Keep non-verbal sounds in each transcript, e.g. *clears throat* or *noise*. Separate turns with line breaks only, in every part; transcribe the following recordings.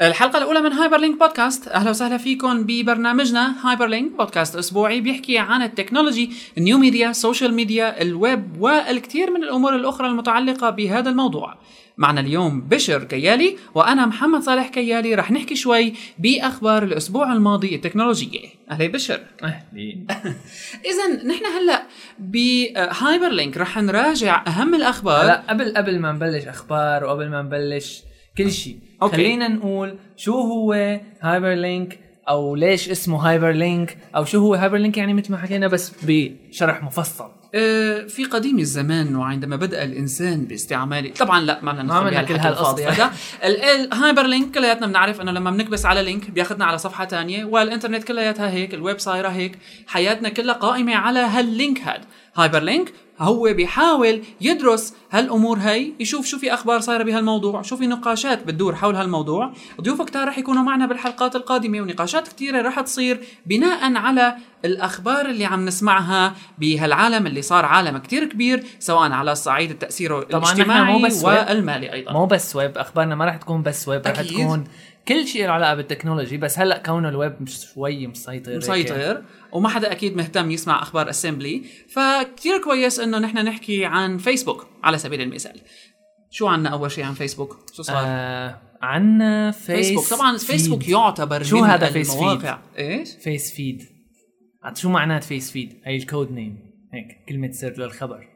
الحلقة الأولى من هايبر لينك بودكاست، أهلا وسهلا فيكم ببرنامجنا هايبر لينك بودكاست أسبوعي بيحكي عن التكنولوجي، النيو ميديا، السوشيال ميديا، الويب والكثير من الأمور الأخرى المتعلقة بهذا الموضوع. معنا اليوم بشر كيالي وأنا محمد صالح كيالي رح نحكي شوي بأخبار الأسبوع الماضي التكنولوجية. أهلا بشر.
أهلين
إذا نحن هلا بهايبر لينك رح نراجع أهم الأخبار.
هلا قبل قبل ما نبلش اخبار وقبل ما نبلش كل شيء
أوكي.
خلينا نقول شو هو هايبر لينك او ليش اسمه هايبر لينك او شو هو هايبر لينك يعني مثل ما حكينا بس بشرح مفصل
آه، في قديم الزمان وعندما بدأ الإنسان باستعمال طبعا لا ما بدنا
ما
ندخل
بدنا
بهالحكي
كل
الفاضي *laughs*
هالقصة.
هذا ال- الهايبر لينك كلياتنا بنعرف انه لما بنكبس على لينك بياخذنا على صفحه تانية والانترنت كلياتها هيك الويب صايره هيك حياتنا كلها قائمه على هاللينك هاد هايبر لينك هو بيحاول يدرس هالامور هي يشوف شو في اخبار صايره بهالموضوع شو في نقاشات بتدور حول هالموضوع ضيوف كتار رح يكونوا معنا بالحلقات القادمه ونقاشات كثيره رح تصير بناء على الاخبار اللي عم نسمعها بهالعالم اللي صار عالم كتير كبير سواء على صعيد التأثير
طبعاً نحن
الاجتماعي
مو بس ويب.
والمالي ايضا
مو بس ويب اخبارنا ما رح تكون بس ويب رح
طيب. أكيد.
تكون كل شيء له علاقه بالتكنولوجي بس هلا كونه الويب مش شوي مسيطر هيك.
مسيطر وما حدا اكيد مهتم يسمع اخبار اسمبلي فكتير كويس انه نحن نحكي عن فيسبوك على سبيل المثال شو عنا اول شيء عن فيسبوك شو صار آه
آه عنا فيس
فيسبوك طبعا فيسبوك
فيد.
يعتبر
شو
من
هذا فيس
المواقع ايش
فيس فيد عاد شو معنات فيس فيد هي الكود نيم هيك كلمه سر للخبر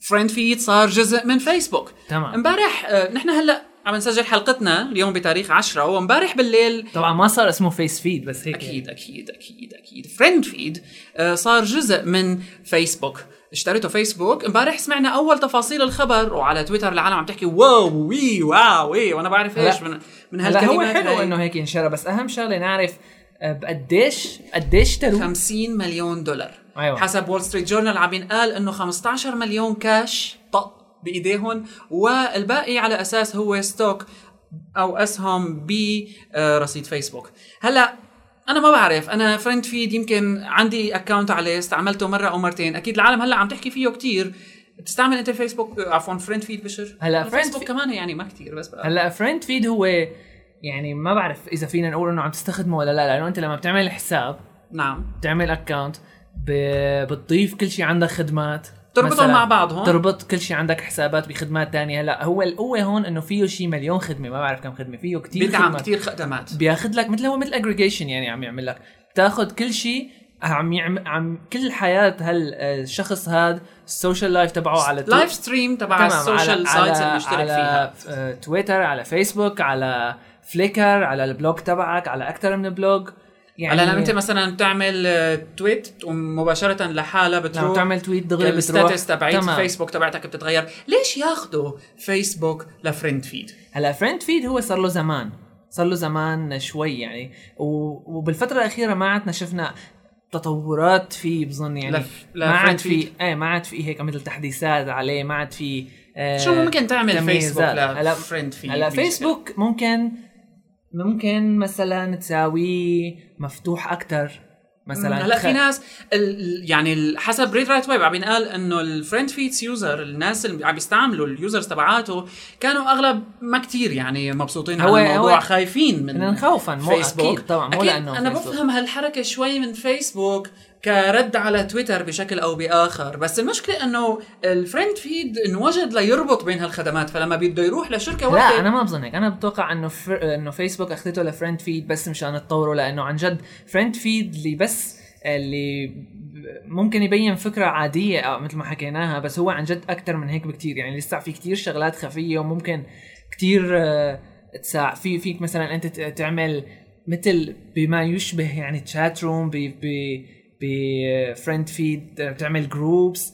فريند فيد صار جزء من فيسبوك
تمام.
امبارح آه، نحن هلا عم نسجل حلقتنا اليوم بتاريخ 10 وامبارح بالليل
طبعا ما صار اسمه فيس فيد بس هيك
اكيد اكيد اكيد اكيد فريند فيد آه، صار جزء من فيسبوك اشتريته فيسبوك امبارح سمعنا اول تفاصيل الخبر وعلى تويتر العالم عم تحكي واو وي واو وي وانا بعرف
هلا-
ايش من من
يعني. هلا هو
هالكلمات
حلو
هاي.
انه هيك ينشرى بس اهم شغله نعرف آه، بقديش قديش اشتروا
50 مليون دولار
أيوة.
حسب وول ستريت جورنال عم ينقال انه 15 مليون كاش طق بايديهم والباقي على اساس هو ستوك او اسهم برصيد فيسبوك هلا انا ما بعرف انا فريند فيد يمكن عندي اكونت عليه استعملته مره او مرتين اكيد العالم هلا عم تحكي فيه كتير بتستعمل آه، انت فيسبوك عفوا فريند فيد بشر
هلا
أنا
friend
فيسبوك
feed-
كمان يعني ما كتير بس بقى.
هلا فريند فيد هو يعني ما بعرف اذا فينا نقول انه عم تستخدمه ولا لا لانه انت لما بتعمل حساب
نعم
بتعمل اكونت بتضيف كل شيء عندك خدمات
تربطهم
مثلاً.
مع بعضهم.
تربط كل شيء عندك حسابات بخدمات تانية هلا هو القوه هون انه فيه شيء مليون خدمه ما بعرف كم خدمه فيه كتير
بيدعم
خدمات.
كتير خدمات
بياخذ لك مثل هو مثل اجريجيشن يعني عم يعمل لك بتاخذ كل شيء عم يعمل عم كل حياه هالشخص هذا السوشيال لايف تبعه على تو-
لايف ستريم تبع
تمام،
السوشيال سايتس اللي مشترك فيها
على آه، تويتر على فيسبوك على فليكر على البلوج تبعك على اكثر من بلوج يعني
هلا لما انت مثلا بتعمل آه، تويت تقوم مباشره لحالها بتروح
لما نعم، بتعمل تويت دغري بتروح
الستاتس تبعت
تمام.
الفيسبوك تبعتك بتتغير ليش ياخذوا فيسبوك لفريند فيد
هلا فريند فيد هو صار له زمان صار له زمان شوي يعني و... وبالفتره الاخيره ما عدنا شفنا تطورات فيه بظن يعني
لف-
ما عاد
لفريند
في
فيد.
ايه ما عاد في هيك مثل تحديثات عليه ما عاد في آه
شو ممكن تعمل
تمييزات.
فيسبوك
هلا
لفريند فيد
هلا فيسبوك ممكن ممكن مثلا تساويه مفتوح اكثر مثلا
هلا
تخ-
في ناس ال- ال- يعني ال- حسب ريد رايت ويب عم ينقال انه الفريند فيتس يوزر الناس اللي عم يستعملوا اليوزرز تبعاته كانوا اغلب ما كتير يعني مبسوطين
هو-
على الموضوع
هو-
خايفين
لأن
من
خوفاً، مو
فيسبوك
أكيد طبعاً، مو
أكيد
لأنه
انا
فيسبوك.
بفهم هالحركه شوي من فيسبوك كرد على تويتر بشكل او باخر بس المشكله انه الفريند فيد انوجد ليربط بين هالخدمات فلما بده يروح لشركه
لا
واحده
انا ما بظن هيك انا بتوقع انه فر... انه فيسبوك اخذته لفريند فيد بس مشان تطوره لانه عن جد فريند فيد اللي بس اللي ب- ممكن يبين فكره عاديه او مثل ما حكيناها بس هو عن جد اكثر من هيك بكتير يعني لسه في كتير شغلات خفيه وممكن كتير آه، تساع في فيك مثلا انت ت- تعمل مثل بما يشبه يعني تشات روم ب ب بفريند فيد بتعمل جروبس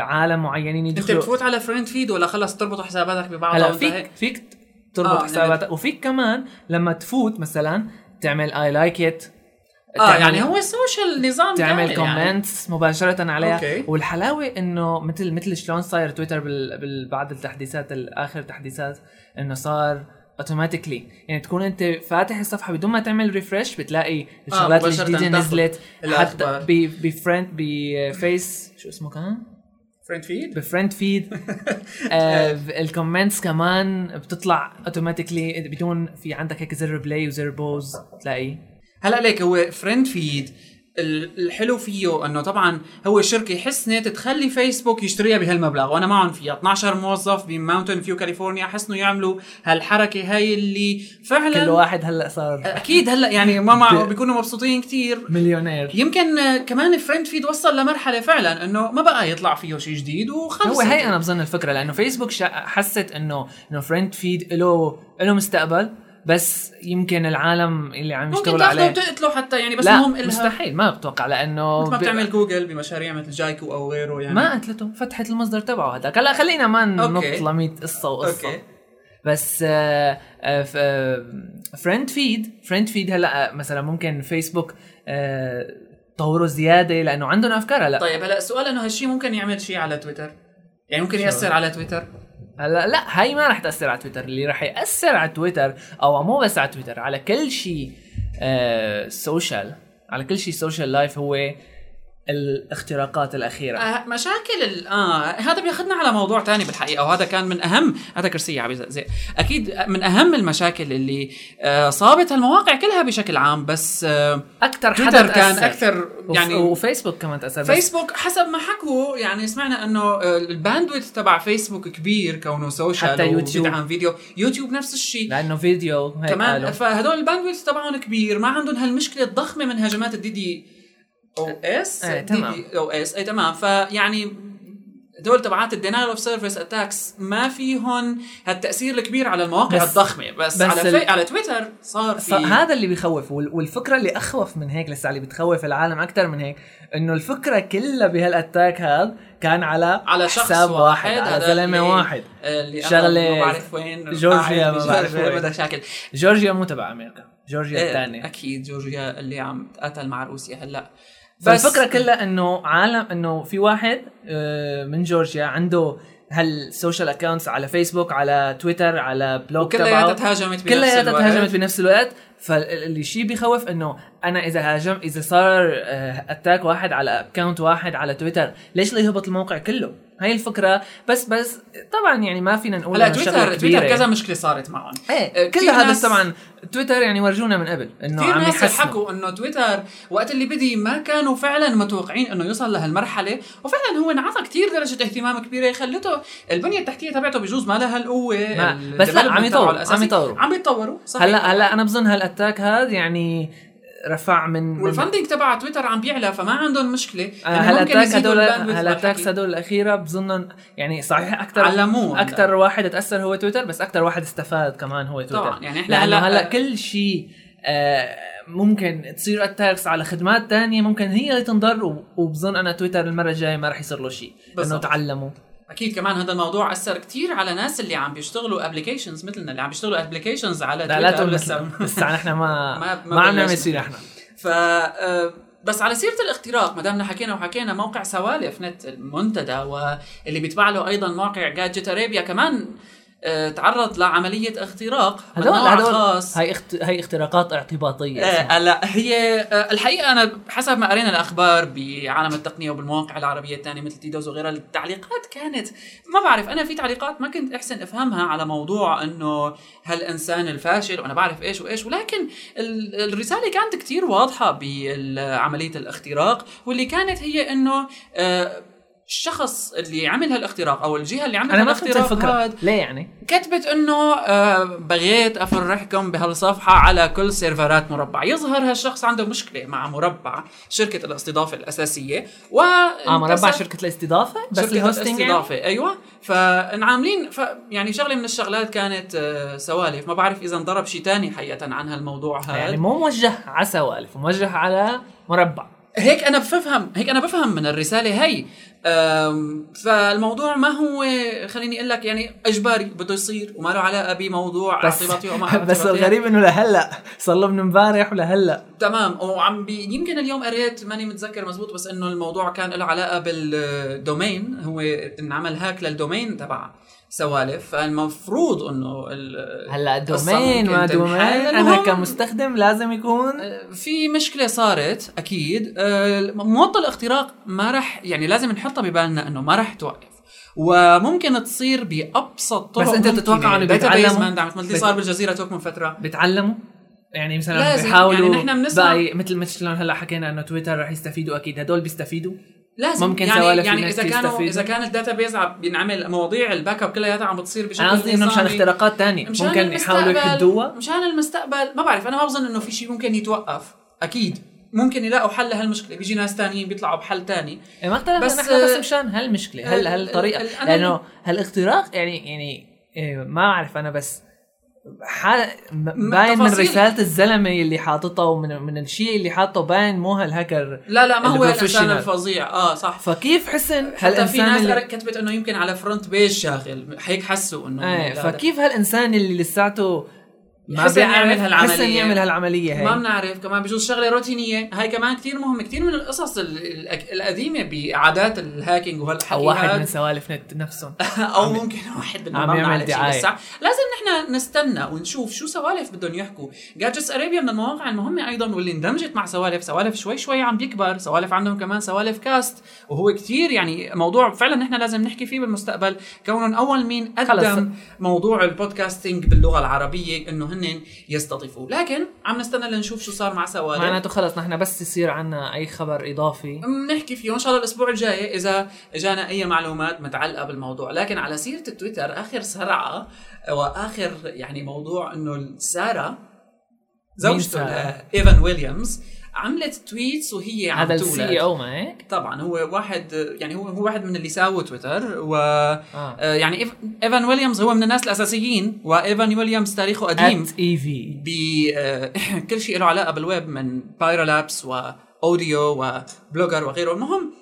عالم معينين
انت
يدخلوا
بتفوت على فريند فيد ولا خلص تربط حساباتك ببعضها
هلا
وانت هيك؟
فيك فيك تربط
آه،
آه حساباتك وفيك كمان لما تفوت مثلا تعمل اي لايك ات
اه يعني هو السوشيال نظام
تعمل
كامل يعني.
كومنتس يعني. مباشره عليها
أوكي.
والحلاوه انه مثل مثل شلون صاير تويتر بال... بال... بعد التحديثات اخر التحديثات انه صار اوتوماتيكلي يعني تكون انت فاتح الصفحه بدون ما تعمل ريفرش بتلاقي الشغلات
آه، مباشرة
الجديده
تاخد
نزلت
الأخبار.
حتى ب- بفريند بفيس شو اسمه كان
فريند فيد
بفرند فيد آه، الكومنتس كمان بتطلع اوتوماتيكلي بدون في عندك هيك زر بلاي وزر بوز تلاقي
هلا ليك هو فريند فيد ال- الحلو فيه انه طبعا هو شركه حسنت تخلي فيسبوك يشتريها بهالمبلغ وانا معهم فيها 12 موظف بماونتن فيو كاليفورنيا حسنوا يعملوا هالحركه هاي اللي فعلا
كل واحد هلا صار
اكيد هلا يعني ما معه بيكونوا مبسوطين كتير
مليونير
يمكن آه، كمان فريند فيد وصل لمرحله فعلا انه ما بقى يطلع فيه شيء جديد وخلص
هو هي انا بظن الفكره لانه فيسبوك شا... حست انه انه فريند فيد له له مستقبل بس يمكن العالم اللي عم
ممكن
يشتغلوا
تاخذه
عليه
وتقتله حتى يعني بس
لا
المهم إلها
مستحيل ما بتوقع لانه
مثل ما
ب-
بتعمل جوجل بمشاريع مثل جايكو او غيره يعني
ما قتلته فتحت المصدر تبعه هذاك هلا خلينا ما ننط
أوكي.
لميت قصه وقصه
اوكي
بس آه، فريند فيد فريند فيد هلا آه، مثلا ممكن فيسبوك آه، طوروا زياده لانه عندهم افكار هلا
طيب هلا السؤال انه هالشيء ممكن يعمل شيء على تويتر يعني ممكن ياثر على تويتر
هلا لا هاي ما رح تاثر على تويتر اللي رح ياثر على تويتر او مو بس على تويتر على كل شيء آه، سوشيال على كل شيء سوشيال لايف هو الاختراقات الاخيره
آه، مشاكل ال- اه هذا بياخذنا على موضوع تاني بالحقيقه وهذا كان من اهم هذا كرسي عم يزقزق اكيد من اهم المشاكل اللي آه، صابت هالمواقع كلها بشكل عام بس آه،
اكثر حدا
تويتر كان
تأثر.
أكتر
وف-
يعني-
وفيسبوك كمان تاثر بس
فيسبوك حسب ما حكوا يعني سمعنا انه آه، الباندويت تبع فيسبوك كبير كونه سوشيال
حتى يوتيوب.
عن فيديو يوتيوب نفس الشيء
لانه فيديو هيك قالوا.
كمان فهدول الباندويث تبعهم كبير ما عندهم هالمشكله الضخمه من هجمات الدي دي او اس
إيه، تمام.
او اس اي تمام فيعني دول تبعات الدينايل اوف سيرفيس اتاكس ما فيهم هالتاثير الكبير على المواقع
بس-
بس الضخمه بس,
بس
بس على
ال-
في... على تويتر صار في
فهذا اللي بيخوف وال- والفكره اللي اخوف من هيك لسه اللي بتخوف العالم اكثر من هيك انه الفكره كلها بهالاتاك هذا كان على
على شخص
حساب
واحد, إيه.
على
هذا
زلمه
اللي-
واحد
آه، اللي
شغلة
شغله ما بعرف وين
جورجيا ما بعرف وين.
وين بدها شكل
جورجيا مو تبع امريكا
إيه.
جورجيا الثانيه
اكيد آه، جورجيا اللي عم تقاتل مع روسيا هلا
بس الفكره كلها انه عالم انه في واحد آه، من جورجيا عنده هالسوشيال اكونتس على فيسبوك على تويتر على بلوج
وكلياتها
تبعه
تهاجمت بنفس
كلياتها
الوقت.
تهاجمت بنفس الوقت فاللي شيء بيخوف انه انا اذا هاجم اذا صار اتاك واحد على اكونت واحد على تويتر ليش لا يهبط الموقع كله هاي الفكره بس بس طبعا يعني ما فينا نقول
هلا
إنه شغلة
تويتر
كبيرة.
تويتر كذا مشكله صارت معهم
ايه كل
كتير
هذا
ناس-
طبعا تويتر يعني ورجونا من قبل انه
كثير
عم
ناس
يحسنوا
حكوا انه تويتر وقت اللي بدي ما كانوا فعلا متوقعين انه يوصل لهالمرحله وفعلا هو انعطى كثير درجه اهتمام كبيره خلته البنيه التحتيه تبعته بجوز ما لها القوه
ما-
ال-
بس لا،
development
عم
تبعه
يطوروا،
الأساسي.
عم يطوروا.
عم يتطوروا صحيح
هلا هلا انا بظن هالاتاك هذا يعني رفع من من-
والفندنج تبع تويتر عم بيعلى فما عندهم مشكله
آه،
إنه يعني ممكن
هالاتاك
يزيدوا
هدول
الباندويث
هالاتاكس
بالحكي.
هدول الاخيره بظن يعني صحيح اكثر
علموه
اكثر واحد تاثر هو تويتر بس اكثر واحد استفاد كمان هو تويتر
طبعاً، يعني إحنا
لأنه
هلأ-
هلا كل شيء آه، ممكن تصير اتاكس على خدمات تانية ممكن هي اللي تنضر و- وبظن انا تويتر المره الجايه ما راح يصير له شيء لانه
بالضبط.
تعلموا
اكيد كمان هذا الموضوع اثر كثير على ناس اللي عم بيشتغلوا ابلكيشنز مثلنا اللي عم بيشتغلوا ابلكيشنز على
لا لا
تويتر
تقول
لسه *laughs*
مثل- لسه نحن
ما-
ما
ما
ما عم نعمل
بلشنا.
شيء نحن
ف آه، بس على سيره الاختراق ما دامنا حكينا وحكينا موقع سوالف نت المنتدى واللي بيتبع له ايضا موقع جادجت اريبيا كمان آه، تعرض لعمليه اختراق من
هدول
نوع
هدول
خاص
هاي اخت... هاي اختراقات اعتباطيه
آه، هلا هي آه، الحقيقه انا حسب ما قرينا الاخبار بعالم التقنيه وبالمواقع العربيه الثانيه مثل تيدوز وغيرها التعليقات كانت ما بعرف انا في تعليقات ما كنت احسن افهمها على موضوع انه هالانسان الفاشل وانا بعرف ايش وايش ولكن ال- الرساله كانت كتير واضحه بعمليه الاختراق واللي كانت هي انه آه، الشخص اللي عمل هالاختراق او الجهه اللي عملت
انا ما فهمت
هالاختراق
الفكره
هاد
ليه يعني
كتبت انه آه، بغيت افرحكم بهالصفحه على كل سيرفرات مربع يظهر هالشخص عنده مشكله مع مربع شركه الاستضافه الاساسيه و
اه مربع شركه الاستضافه بس
بس
الهوستنج يعني
الاستضافه ايوه فانعاملين ف يعني شغله من الشغلات كانت آه، سوالف ما بعرف اذا انضرب شيء تاني حقيقه عن هالموضوع هذا
يعني مو موجه على سوالف موجه على مربع
هيك انا بفهم هيك انا بفهم من الرساله هي أم، فالموضوع ما هو خليني اقول لك يعني اجباري بده يصير وما له علاقه بموضوع
بس
اعتباطي وما
*laughs*
يعني؟
بس
اعتباطي.
الغريب انه لهلا صار له من امبارح ولهلا
تمام وعم بي... يمكن اليوم قريت ماني متذكر مزبوط بس انه الموضوع كان له علاقه بالدومين هو انعمل هاك للدومين تبع سوالف فالمفروض انه ال-
هلا
القصة
دومين
ممكن
ما
تنحل. أه،
دومين انا
المهم،
كمستخدم لازم يكون
في مشكله صارت اكيد آه، معطل الاختراق ما رح يعني لازم نحطها ببالنا انه ما رح توقف وممكن تصير بابسط طرق
بس أنت
ممكنة.
تتوقع إنه
Database
بيتعلموا؟
ما اندعمت مثل اللي
بت-
صار بالجزيره توك من فتره
بيتعلموا يعني مثلا
لازم،
بيحاولوا
يعني نحن بنسمع-
بقى مثل مثل شلون هلا حكينا انه تويتر رح يستفيدوا اكيد هدول بيستفيدوا
لازم
ممكن
يعني
سوالف
يعني
الناس
اذا كانوا
تستفيد.
اذا كان الداتا بيز عم بينعمل مواضيع الباك اب كلياتها عم بتصير بشكل
انا قصدي انه مشان
نظامي.
اختراقات تانية
مشان
ممكن يحاولوا
المستقبل-
يحدوها
مشان المستقبل ما بعرف انا ما بظن انه في شيء ممكن يتوقف اكيد ممكن يلاقوا حل لهالمشكله بيجي ناس تانيين بيطلعوا بحل تاني
إيه ما اختلفنا
بس-
بس نحن بس مشان هالمشكله هل
آه،
هالطريقه
ال- ال- أنا-
لانه هالاختراق يعني يعني إيه، ما اعرف انا بس حال م- باين من
تفاصيل.
رساله الزلمه اللي حاططها ومن من الشيء اللي حاطه باين مو هالهاكر
لا لا ما هو الانسان
البروفيشنال.
الفظيع اه صح
فكيف حسن
حتى في
هالانسان
ناس
اللي
اللي... كتبت انه يمكن على فرونت بيج شاغل هيك حسوا انه
ايه
هذا.
فكيف هالانسان اللي لساته ما
حسن يعمل
بيعمل
هالعملية.
حسن يعمل هالعمليه
ما
هي
بنعرف كمان بجوز شغله روتينيه هاي كمان كثير مهمه كثير من القصص ال- ال- القديمه بعادات الهاكينج وهالحكي
او واحد
هاد.
من سوالف
*laughs*
نت نفسهم
او ممكن واحد بدنا
عم
ما
يعمل
نعرف شي،
دعاية.
بس لازم نحن نستنى ونشوف شو سوالف بدهم يحكوا جادجتس اريبيا من المواقع المهمه ايضا واللي اندمجت مع سوالف سوالف شوي شوي عم بيكبر سوالف عندهم كمان سوالف كاست وهو كتير يعني موضوع فعلا نحن لازم نحكي فيه بالمستقبل كونهم اول مين
خلص.
قدم موضوع البودكاستنج باللغه العربيه انه هن يستضيفوه لكن عم نستنى لنشوف شو صار مع سوالف
معناته خلص نحن بس يصير عنا اي خبر اضافي
بنحكي فيه وان شاء الله الاسبوع الجاي اذا اجانا اي معلومات متعلقه بالموضوع لكن على سيره التويتر اخر سرعه واخر يعني موضوع انه ساره زوجته
سارة؟
ايفان ويليامز عملت تويتس وهي عم
هذا E
تولد.
السي او ما هيك؟
طبعا هو واحد يعني هو هو واحد من اللي ساووا تويتر و آه.
اه
يعني إيف- ايفان ويليامز هو من الناس الاساسيين وايفان ويليامز تاريخه قديم
ات اي في
*clears throat* بكل آه، شيء له علاقه بالويب من بايرولابس واوديو وبلوجر وغيره المهم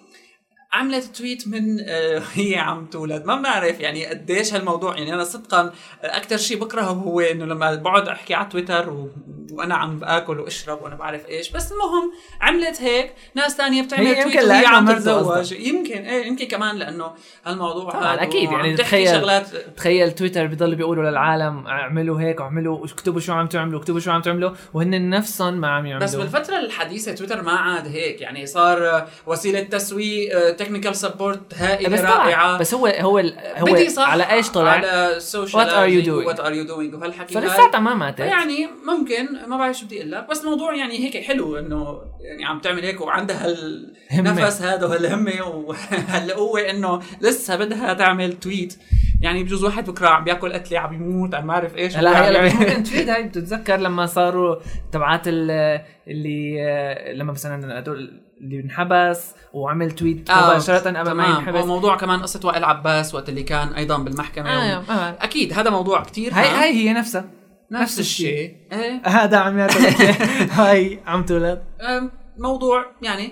عملت تويت من آه، *laughs* هي عم تولد ما بنعرف يعني قديش هالموضوع يعني انا صدقا اكثر شيء بكرهه هو انه لما بقعد احكي على تويتر و... وانا عم باكل واشرب وانا بعرف ايش بس المهم عملت هيك ناس تانية بتعمل
هي
تويت
يمكن
وهي
لأنه
عم
مرته
تتزوج
قصدك.
يمكن ايه يمكن كمان لانه هالموضوع
طبعاً،
هاد
أكيد، يعني
وعم تحكي
تخيل-
شغلات
تخيل تويتر بيضلوا بيقولوا للعالم اعملوا هيك واعملوا اكتبوا شو عم تعملوا اكتبوا شو عم تعملوا وهن نفسهم ما عم يعملوا
بس بالفترة الحديثة تويتر ما عاد هيك يعني صار آه، وسيلة تسويق تكنيكال سبورت هائلة
بس طلع
رائعة
بس هو هو ال- هو
بدي صح
على ايش طلع؟
على السوشيال
What are you doing؟
وات ار يو دوينج وهالحكي هاي.
فلساتها ما ماتت
يعني ممكن ما بعرف شو بدي اقول لك بس الموضوع يعني هيك حلو انه يعني عم تعمل هيك وعندها
همة.
هالنفس هذا *laughs* وهالهمه وهالقوه انه لسه بدها تعمل تويت يعني بجوز واحد بكره عم بياكل قتله عم بيموت عم بعرف ايش
هلا
وعم
هي
بيعمل- *laughs*
لما ممكن تفيد هاي بتتذكر لما صاروا تبعات ال- اللي لما مثلا هدول اللي انحبس وعمل تويت
آه،
مباشره قبل ما
تمام
ينحبس
وموضوع كمان قصه وائل عباس وقت اللي كان ايضا بالمحكمه
آه،
و...
آه.
اكيد هذا موضوع كتير
هاي
هام.
هاي هي نفسها
نفس الشيء ايه
هذا عم يعتبر *laughs* هاي عم تولد
أم، موضوع يعني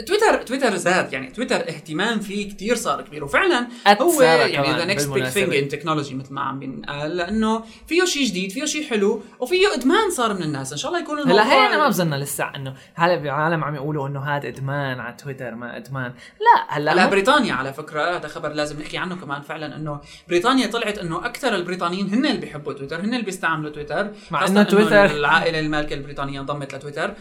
أه، تويتر تويتر زاد يعني تويتر اهتمام فيه كتير صار كبير وفعلا
أت
هو
صار
يعني
كمان
ذا نكست بيج ثينج
بالمناسبة.
ان تكنولوجي مثل ما عم بينقال لانه فيه شيء جديد فيه شيء حلو وفيه ادمان صار من الناس ان شاء الله يكون الموضوع
هلا هي انا ما بظن لسه انه هلا العالم عم يقولوا انه هذا ادمان على تويتر ما ادمان لا هلا
هلا
ممكن-
بريطانيا على فكره هذا خبر لازم نحكي عنه كمان فعلا انه بريطانيا طلعت انه اكثر البريطانيين هن اللي بيحبوا تويتر هن اللي بيستعملوا تويتر
مع
خاصة
إنه تويتر-
العائله المالكه البريطانيه انضمت لتويتر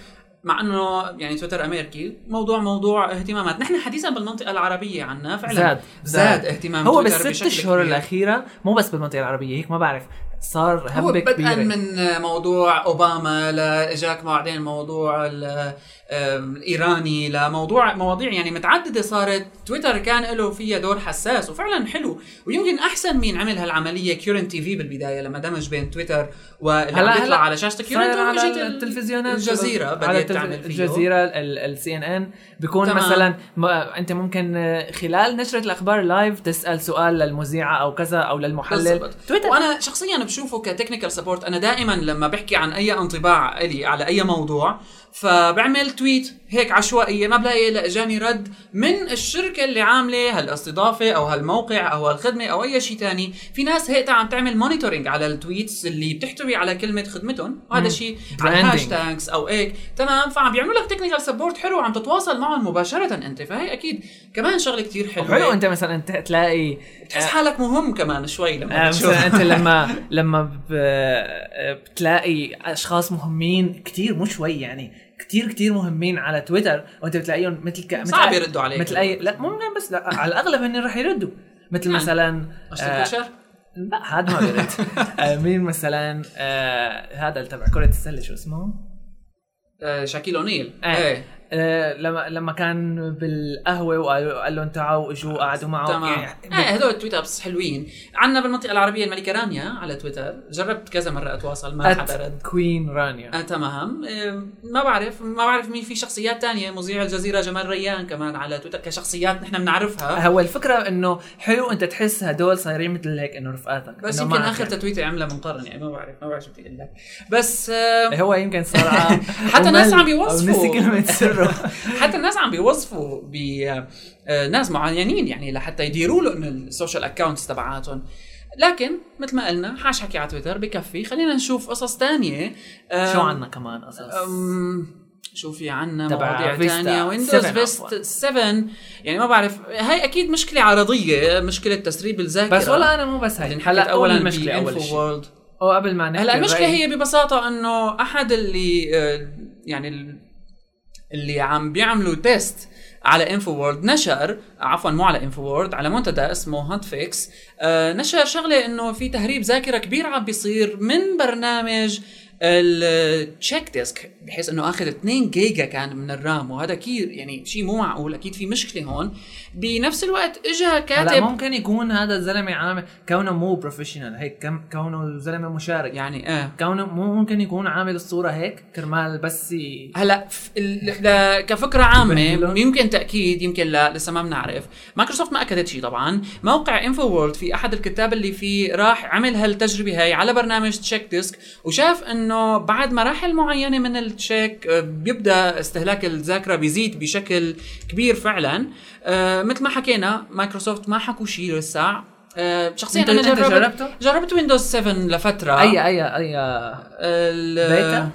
مع انه يعني تويتر امريكي موضوع موضوع اهتمامات نحن حديثا بالمنطقه العربيه عنا فعلا
زاد-
زاد,
زاد.
اهتمام
هو
تويتر
بالست
بشكل
اشهر
كبير.
الاخيره مو بس بالمنطقه العربيه هيك ما بعرف صار
هو
هبه
بدءا
كبيره
من موضوع اوباما لاجاك بعدين موضوع ال- آم، الايراني لموضوع مواضيع يعني متعدده صارت تويتر كان له فيها دور حساس وفعلا حلو ويمكن احسن مين عمل هالعمليه كيورنت تي في بالبدايه لما دمج بين تويتر واللي
هلا-
هلا بيطلع
هلا
على شاشه كيورنت
صاير
هو إجت
على
ال-
التلفزيونات
الجزيره
على
بدات
التلف-
تعمل فيه
الجزيره السي ان ان بيكون
تمام.
مثلا ما انت ممكن آه، خلال نشره الاخبار لايف تسال سؤال للمذيعه او كذا او للمحلل
بالضبط. وانا شخصيا بشوفه كتكنيكال سبورت انا دائما لما بحكي عن اي انطباع الي على اي موضوع فبعمل تويت هيك عشوائيه ما بلاقي الا اجاني رد من الشركه اللي عامله هالاستضافه او هالموقع او هالخدمه او اي شيء تاني في ناس هيك عم تعمل مونيتورينج على التويتس اللي بتحتوي على كلمه خدمتهم وهذا الشيء على
Branding.
هاشتاجز او هيك تمام فعم بيعملوا لك تكنيكال سبورت حلو عم تتواصل معهم مباشره انت فهي اكيد كمان شغله كتير حلوه
حلو انت مثلا ت- تلاقي
تحس حالك مهم كمان شوي
آه،
لما تشوف
مثلا انت
*laughs*
لما لما ب- آه، بتلاقي اشخاص مهمين كتير مو شوي يعني كتير كتير مهمين على تويتر وانت بتلاقيهم مثل ك... مثل
صعب
أي-
يردوا عليك.
مثل اي لا مو ممكن بس لا على الاغلب هن رح يردوا مثل
يعني.
مثلا آه،
اشترك شهر
لا هذا ما
*laughs*
بيرد آه، مين مثلا آه، هذا اللي تبع كرة السلة شو اسمه؟
آه، شاكيل اونيل
آه.
ايه
آه، لما لما كان بالقهوه وقالوا قال لهم تعالوا اجوا قعدوا معه
تمام
يعني-
ايه هدول التويت ابس حلوين عنا بالمنطقه العربيه الملكه رانيا على تويتر جربت كذا مره اتواصل ما حدا رد
أت كوين رانيا
آه تمام آه، ما بعرف ما بعرف مين في شخصيات تانية مذيع الجزيره جمال ريان كمان على تويتر كشخصيات نحن
*laughs*
بنعرفها
هو الفكره انه حلو انت تحس هدول صايرين مثل هيك انه رفقاتك
بس
إنه
يمكن
معك.
اخر تتويته عملها من قرن يعني ما بعرف ما بعرف شو بدي اقول لك بس آه،
هو يمكن صار عا-
*laughs* حتى ناس
ومل
عم
أو نسي
يوصفوا.
كلمه
*laughs*
سره *laughs*
حتى الناس عم بيوصفوا بناس معينين يعني لحتى يديروا له انه السوشيال اكونتس تبعاتهم لكن مثل ما قلنا حاش حكي على تويتر بكفي خلينا نشوف قصص تانية أم،
شو عنا كمان قصص
أم، شو في عنا
تبع
مواضيع
فيستا
تانية ويندوز
7
فيست
عفواً.
7 يعني ما بعرف هاي اكيد مشكلة عرضية مشكلة تسريب الذاكرة
بس والله انا مو بس هاي
اللي
هلا
انحكت
اول
اولا
المشكله اول
بإنفو
شيء
وورلد
او قبل ما نحكي
هلا المشكله
الرأي.
هي ببساطه انه احد اللي آه، يعني ال- اللي عم بيعملوا تيست على انفو وورد نشر عفوا مو على انفو وورد على منتدى اسمه هانت فيكس آه، نشر شغله انه في تهريب ذاكره كبير عم بيصير من برنامج التشيك ديسك بحيث انه اخذ 2 جيجا كان من الرام وهذا كثير يعني شيء مو معقول اكيد في مشكله هون بنفس الوقت اجى
هلا
كاتب
ممكن يكون هذا الزلمه عامل كونه مو بروفيشنال هيك كم- كونه زلمه مشارك
يعني ايه
كونه مو ممكن يكون عامل الصوره هيك كرمال بس ي-
هلا ف- ال- ل- كفكره عامه
يبهدلون.
يمكن تاكيد يمكن لا لسه ما بنعرف مايكروسوفت ما اكدت شيء طبعا موقع انفو وورلد في احد الكتاب اللي فيه راح عمل هالتجربه هاي على برنامج تشيك ديسك وشاف انه بعد مراحل معينه من التشيك آه، بيبدا استهلاك الذاكره بيزيد بشكل كبير فعلا آه، مثل ما حكينا مايكروسوفت ما حكوا شيء لسه آه، شخصيا
أنت-
انا
أنت
جربت
جربته؟
جربت ويندوز 7 لفتره
اي اي اي
آه. ال-
بيتا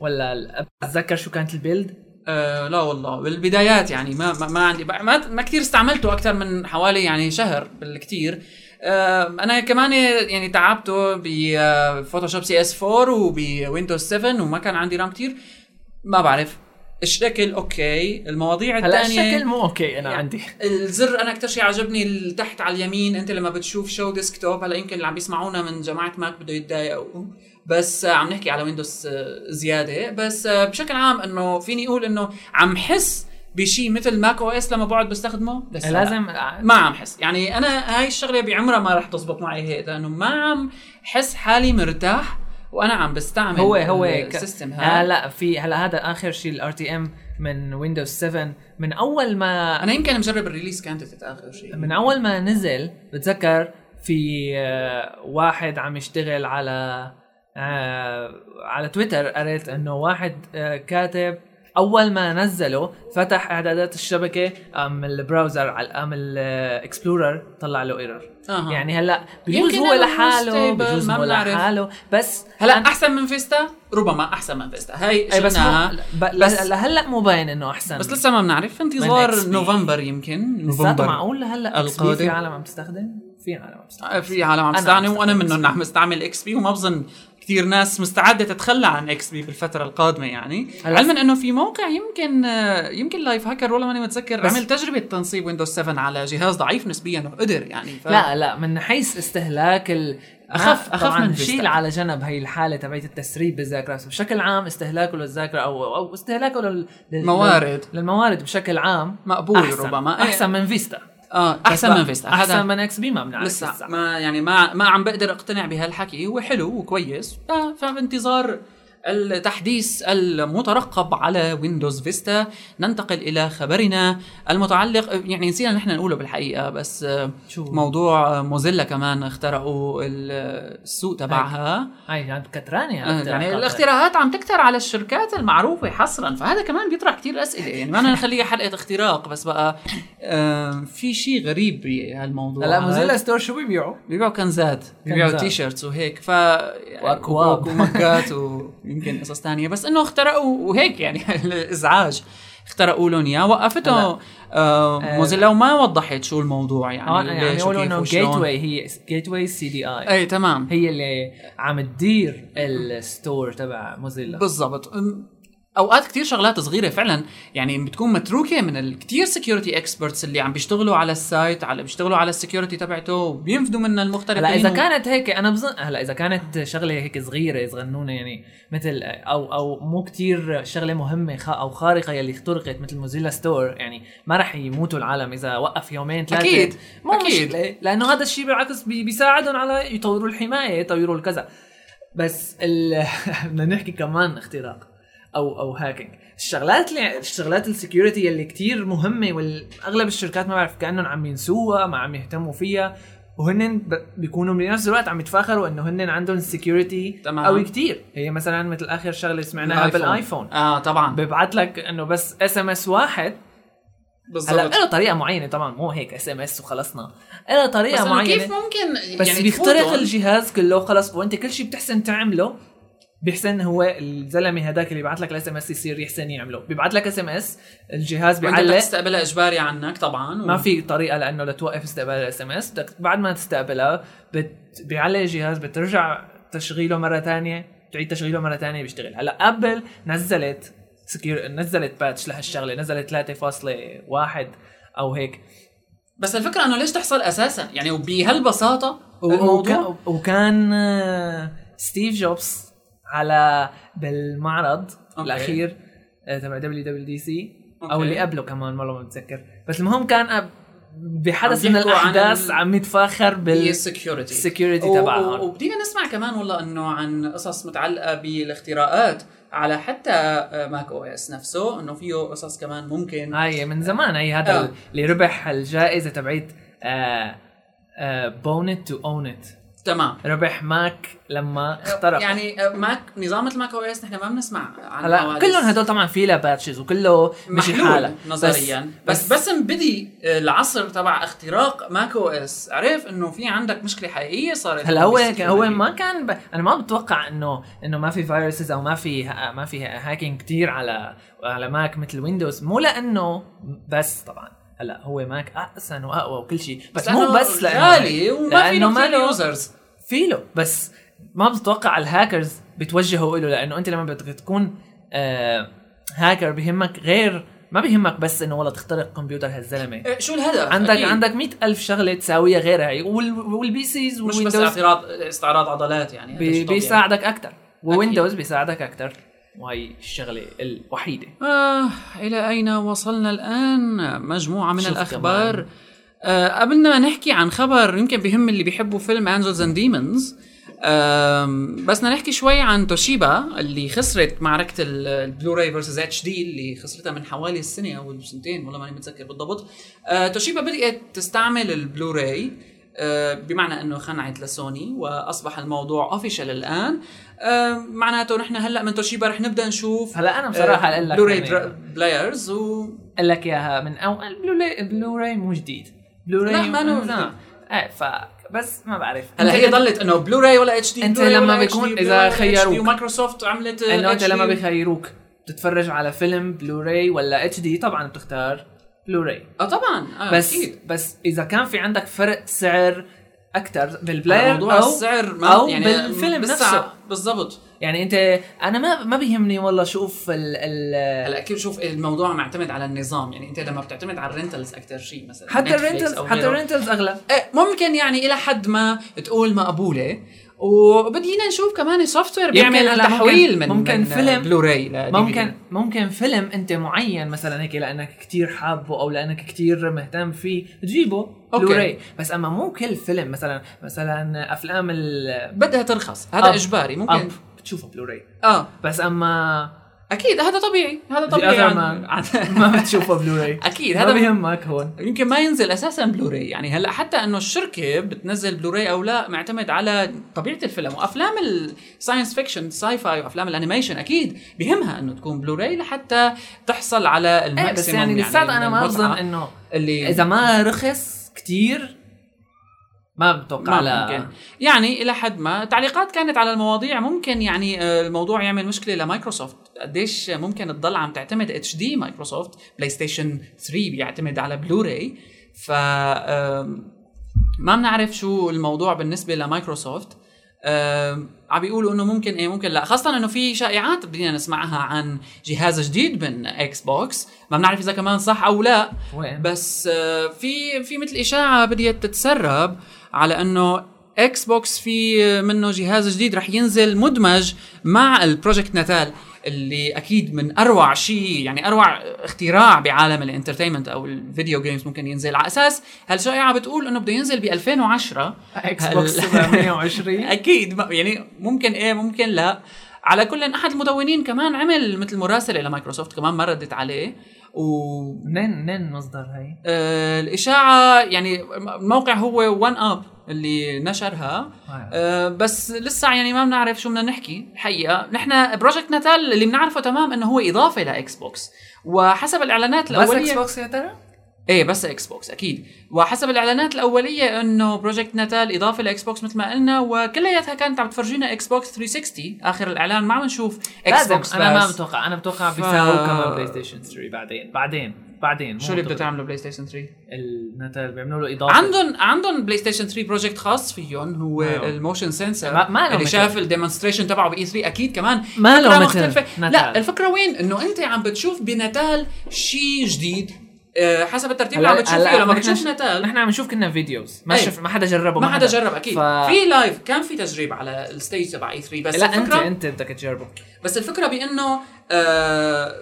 ولا ال- اتذكر شو كانت البيلد
آه لا والله بالبدايات يعني ما ما, ما عندي ما, ما كثير استعملته اكثر من حوالي يعني شهر بالكثير آه انا كمان يعني تعبته آه، بفوتوشوب سي اس 4 وبويندوز 7 وما كان عندي رام كثير ما بعرف الشكل اوكي المواضيع
هلا
الثانيه
الشكل مو اوكي انا
يعني
عندي
الزر انا اكثر شيء عجبني اللي تحت على اليمين انت لما بتشوف شو ديسكتوب هلا يمكن اللي عم بيسمعونا من جماعه ماك بده يتضايقوا بس آه، عم نحكي على ويندوز آه، زياده بس آه، بشكل عام انه فيني اقول انه عم حس بشيء مثل ماك او اس لما بقعد بستخدمه بس لا.
إيه، لازم
ما عم حس يعني انا هاي الشغله بعمرها ما رح تزبط معي هيك لانه ما عم حس حالي مرتاح وانا عم بستعمل
هو هو ك-
السيستم
آه
هذا
لا في هلا هذا اخر شيء الار تي ام من ويندوز 7 من اول ما
انا يمكن مجرب الريليس كانت تتاخر شيء
من اول ما نزل بتذكر في آه، واحد عم يشتغل على آه، على تويتر قريت انه واحد آه، كاتب اول ما نزله فتح اعدادات الشبكه قام البراوزر على قام الاكسبلورر طلع له ايرور
أها.
يعني هلا بجوز
يمكن
هو
إنه
لحاله
unstable،
بجوز
ما
هو
بنعرف.
لحاله بس
هلا احسن من فيستا ربما احسن من فيستا هي
أي إيه، بس, مو-
شفناها
ب-
بس-
بس لهلا مو باين انه احسن
بس لسه ما بنعرف انتظار
من XP.
نوفمبر يمكن
لساته
نوفمبر
معقول لهلا XP في
القادم.
عالم عم تستخدم في عالم عم تستخدم
آه، في عالم عم
أنا
تستعمل
عم
وانا
بستعمل
منهم عم بستعمل اكس بي وما بظن كثير ناس مستعده تتخلى عن اكس بي بالفتره القادمه يعني
هلا-
علما انه في موقع يمكن آه، يمكن لايف هاكر والله ماني متذكر
بس-
عمل تجربه تنصيب ويندوز 7 على جهاز ضعيف نسبيا وقدر يعني ف...
لا لا من حيث استهلاك ال
أخف- أخف
طبعاً
من
شيل
فيستا.
على جنب هي الحاله تبعت التسريب بالذاكره بس بشكل عام استهلاكه للذاكره او او استهلاكه لل... لل-
موارد.
للموارد بشكل عام
مقبول
أحسن.
ربما. إيه.
احسن من فيستا
اه احسن
بس
من
بقى-
فيستا هذا-
احسن من اكس بي ما بنعرف
لسه ما يعني ما ما عم بقدر اقتنع بهالحكي هو حلو وكويس ف- آه، فبانتظار التحديث المترقب على ويندوز فيستا ننتقل الى خبرنا المتعلق يعني نسينا نحن نقوله بالحقيقه بس آه،
شو
موضوع موزيلا كمان اخترعوا السوق تبعها
هاي عم كتراني
آه، يعني الاختراعات عم تكتر على الشركات المعروفه حصرا فهذا كمان بيطرح كتير اسئله يعني ما بدنا نخليها حلقه اختراق بس بقى آه، في شيء غريب بهالموضوع
هلا
هذا.
موزيلا ستور شو بيبيعوا؟
بيبيعوا كنزات بيبيعوا
كنزات.
تي شيرتس وهيك ف يعني
وأكواب.
ومكات ويمكن قصص تانية بس انه اخترقوا وهيك يعني *laughs* الازعاج اخترقوا لهم اياه وقفته
هلا.
آه موزيلا وما وضحت شو الموضوع
اه
يعني
يعني
ليش
يقولوا
وكيف
انه
وشلون.
جيت واي هي جيت واي سي دي اي
اي تمام
هي اللي عم تدير الستور تبع موزيلا
بالضبط أم، اوقات كتير شغلات صغيره فعلا يعني بتكون متروكه من الكتير سكيورتي اكسبرتس اللي عم بيشتغلوا على السايت على بيشتغلوا على السكيورتي تبعته وبينفذوا منها المخترقين
هلا اذا
و-
كانت هيك انا بظن هلا اذا كانت شغله هيك صغيره صغنونه يعني مثل او او مو كتير شغله مهمه خ- او خارقه يلي اخترقت مثل موزيلا ستور يعني ما رح يموتوا العالم اذا وقف يومين ثلاثه
أكيد،
مو
أكيد.
مشكله لانه هذا الشيء بالعكس بي بيساعدهم على يطوروا الحمايه يطوروا الكذا بس ال... *laughs* بدنا نحكي كمان اختراق او او هاكينج الشغلات اللي يعني، الشغلات السكيورتي اللي كتير مهمه واغلب الشركات ما بعرف كانهم عم ينسوها ما عم يهتموا فيها وهن ب- بيكونوا بنفس الوقت عم يتفاخروا انه هن عندهم سكيورتي
تمام.
قوي كتير هي مثلا مثل اخر شغله سمعناها بالايفون
اه طبعا
ببعث لك انه بس اس ام اس واحد هلا
بالضبط
له طريقه معينه طبعا مو هيك اس ام اس وخلصنا له
بس
طريقه
إنه
معينه
كيف ممكن
بس يعني
يعني
بيخترق
تفوتهم؟
الجهاز كله خلص وانت كل شيء بتحسن تعمله بيحسن هو الزلمه هداك اللي بيبعث لك الاس ام اس يصير يحسن يعمله بيبعث لك اس ام اس الجهاز
وانت بدك
بيعلق
تستقبلها اجباري عنك طبعا و...
ما في طريقه لانه لتوقف استقبال الاس ام اس بدك بعد ما تستقبلها بت... بيعلق الجهاز بترجع تشغيله مره ثانيه بتعيد تشغيله مره ثانيه بيشتغل هلا ابل نزلت سكيور نزلت باتش لهالشغله نزلت 3.1 او هيك
بس الفكره انه ليش تحصل اساسا يعني وبهالبساطه الموضوع
وكان, وكان آه، ستيف جوبز على بالمعرض
أوكي.
الاخير آه، تبع دبليو دبليو دي سي او
أوكي.
اللي قبله كمان والله ما بتذكر بس المهم كان أب- بحدث
عم
من
بيحكوا عن
الاحداث
ال-
عم يتفاخر
هي
بال
السكيورتي
security
و-
تبعها.
و- وبدينا نسمع كمان والله انه عن قصص متعلقه بالاختراقات على حتى آه، ماك او اس نفسه انه فيه قصص كمان ممكن
هاي من زمان هي هذا
آه.
اللي ربح آه، الجائزه تبعت بونت تو اون ات
تمام
ربح ماك لما اخترق
يعني آه، ماك نظام مثل ماك او اس نحن ما بنسمع عن
هلا
حوادث.
كلهم هدول طبعا في لها باتشز وكله مش
محلول
حالة
نظريا بس بس, بس مبدي العصر تبع اختراق ماك او اس عرف انه في عندك مشكله حقيقيه صارت
هلا هو
بالسكيورتي.
هو ما كان ب... انا ما بتوقع انه انه ما في فيروسز او ما في ما في هاكينج كتير على على ماك مثل ويندوز مو لانه بس طبعا هلا هو ماك احسن واقوى وكل شيء بس, مو
لأنه
بس لانه
غالي وما في
لأنه ما
له
له
يوزرز
في له بس ما بتوقع الهاكرز بتوجهوا له لانه انت لما بدك تكون آه هاكر بهمك غير ما بهمك بس انه والله تخترق كمبيوتر هالزلمه
إيه، شو الهدف
عندك
أكيد.
عندك مئة ألف شغله تساويها غير هي وال... والبي سيز
مش بس
والويندوز
اعتراض استعراض عضلات يعني هذا
بي
شيء طبيعي.
بيساعدك اكثر وويندوز بيساعدك اكثر وهي الشغله الوحيده
آه إلى أين وصلنا الآن مجموعة من
شوف
الأخبار آه قبل ما نحكي عن خبر يمكن بهم اللي بيحبوا فيلم أنجلز أند ديمونز بس بدنا نحكي شوي عن توشيبا اللي خسرت معركة ال- البلوراي فيرسز اتش دي اللي خسرتها من حوالي السنة أو سنتين والله ماني متذكر بالضبط آه توشيبا بدأت تستعمل البلوراي آه، بمعنى انه خنعت لسوني واصبح الموضوع اوفيشال الان آه، معناته نحن هلا من توشيبا رح نبدا نشوف
هلا انا
آه،
بصراحه اقول لك
بلوراي
يعني-
بلايرز و
اقول لك اياها من اول بلوراي بلوراي مو جديد بلوراي
لا، ما له
من-
جديد.
ايه ف بس ما بعرف
هلا
أنت
هي
إذا-
ضلت انه بلوراي ولا اتش دي
أنت لما بيكون إذا خيروك.
ومايكروسوفت عملت
انه انت
HD.
لما بخيروك بتتفرج على فيلم بلوراي ولا اتش دي طبعا بتختار بلوراي
اه طبعا آه
بس
اكيد
بس اذا كان في عندك فرق سعر اكثر بالبلاير
موضوع
أو-
السعر ما
أو
يعني
بالفيلم
بالساعة.
نفسه.
بالضبط
يعني انت انا ما ما بيهمني والله شوف ال, ال
هلا كيف شوف الموضوع معتمد على النظام يعني انت لما بتعتمد على الرنتلز اكثر شيء مثلا
حتى
Netflix
الرنتلز
أو
حتى
غيره.
الرنتلز اغلى
إيه، ممكن يعني الى حد ما تقول مقبوله وبدينا نشوف كمان سوفت وير بيعمل
هلا ممكن-
تحويل من
ممكن
من
فيلم.
بلوراي ل DVD.
ممكن ممكن فيلم انت معين مثلا هيك لانك كتير حابه او لانك كتير مهتم فيه تجيبه
أوكي.
بلوراي بس اما مو كل فيلم مثلا مثلا افلام ال
بدها ترخص هذا
أب.
اجباري ممكن
اب بتشوفه بلوراي
اه
بس اما
اكيد هذا طبيعي هذا
The
طبيعي
other
عن-
man.
عن-
ما
*laughs*
بتشوفه *laughs* بلوراي
اكيد
ما
هذا
بيهمك هون
*laughs* يمكن ما ينزل اساسا بلوراي يعني هلا حتى انه الشركه بتنزل بلوراي او لا معتمد على طبيعه الفيلم وافلام الساينس فيكشن ساي فاي وافلام الانيميشن اكيد بهمها انه تكون بلوراي لحتى تحصل على
ايه
الماكسيمم
بس يعني لساتها انا
من
ما
المتعة
بظن انه
اللي
اذا ما رخص كتير ما بتوقع
ما
على
ممكن يعني الى حد ما تعليقات كانت على المواضيع ممكن يعني آه، الموضوع يعمل مشكله لمايكروسوفت قديش ممكن تضل عم تعتمد اتش دي مايكروسوفت بلاي ستيشن 3 بيعتمد على بلوراي ف آم، ما بنعرف شو الموضوع بالنسبه لمايكروسوفت آم، عم بيقولوا انه ممكن ايه ممكن لا خاصه انه في شائعات بدينا نسمعها عن جهاز جديد من اكس بوكس ما بنعرف اذا كمان صح او لا
وين
بس آه، في في مثل اشاعه بديت تتسرب على انه اكس بوكس في آه، منه جهاز جديد رح ينزل مدمج مع البروجكت ناتال اللي اكيد من اروع شيء يعني اروع اختراع بعالم الانترتينمنت او الفيديو جيمز ممكن ينزل على اساس هالشائعه بتقول انه بده ينزل ب 2010
اكس
هل-
بوكس *laughs* 720
اكيد ما- يعني ممكن ايه ممكن لا على كل احد المدونين كمان عمل مثل مراسله لمايكروسوفت كمان ما ردت عليه و
منين منين مصدر هاي؟
آه، الإشاعة يعني الموقع هو وان أب اللي نشرها آه، بس لسه يعني ما بنعرف شو بدنا نحكي الحقيقة نحن بروجكت ناتال اللي بنعرفه تمام انه هو اضافة لاكس بوكس وحسب الاعلانات
بس اكس
الاولية
بوكس يا ترى؟
ايه بس اكس بوكس اكيد وحسب الاعلانات الاوليه انه بروجكت ناتال اضافه لاكس بوكس مثل ما قلنا وكلياتها كانت عم تفرجينا اكس بوكس 360 اخر الاعلان ما عم نشوف اكس
لازم
بوكس
انا ما
بس.
بتوقع انا بتوقع
ف-
بيساووا كمان بلاي ستيشن 3 بعدين بعدين بعدين
شو اللي بده تعمله بلاي ستيشن 3
النتال بيعملوا له اضافه
عندهم عندهم بلاي ستيشن 3 بروجكت خاص فيهم هو
أيوه.
الموشن سنسر
ما- ما له
اللي
مثل.
شاف الديمونستريشن تبعه باي 3 اكيد كمان
ما له
فكرة
مثل
مختلفة.
نتال.
لا الفكره وين انه انت عم بتشوف بنتال شيء جديد آه، حسب الترتيب اللي عم بتشوف فيه لما
نحن-
بتشوف
*laughs*
نتال
نحن عم نشوف كنا فيديوز ما
أي.
شف إيه. ما حدا جربه
ما حدا جرب اكيد
ف...
في لايف كان في تجريب على الستيج تبع اي 3 بس
لا انت
الفكره
انت بدك تجربه
بس الفكره بانه آه،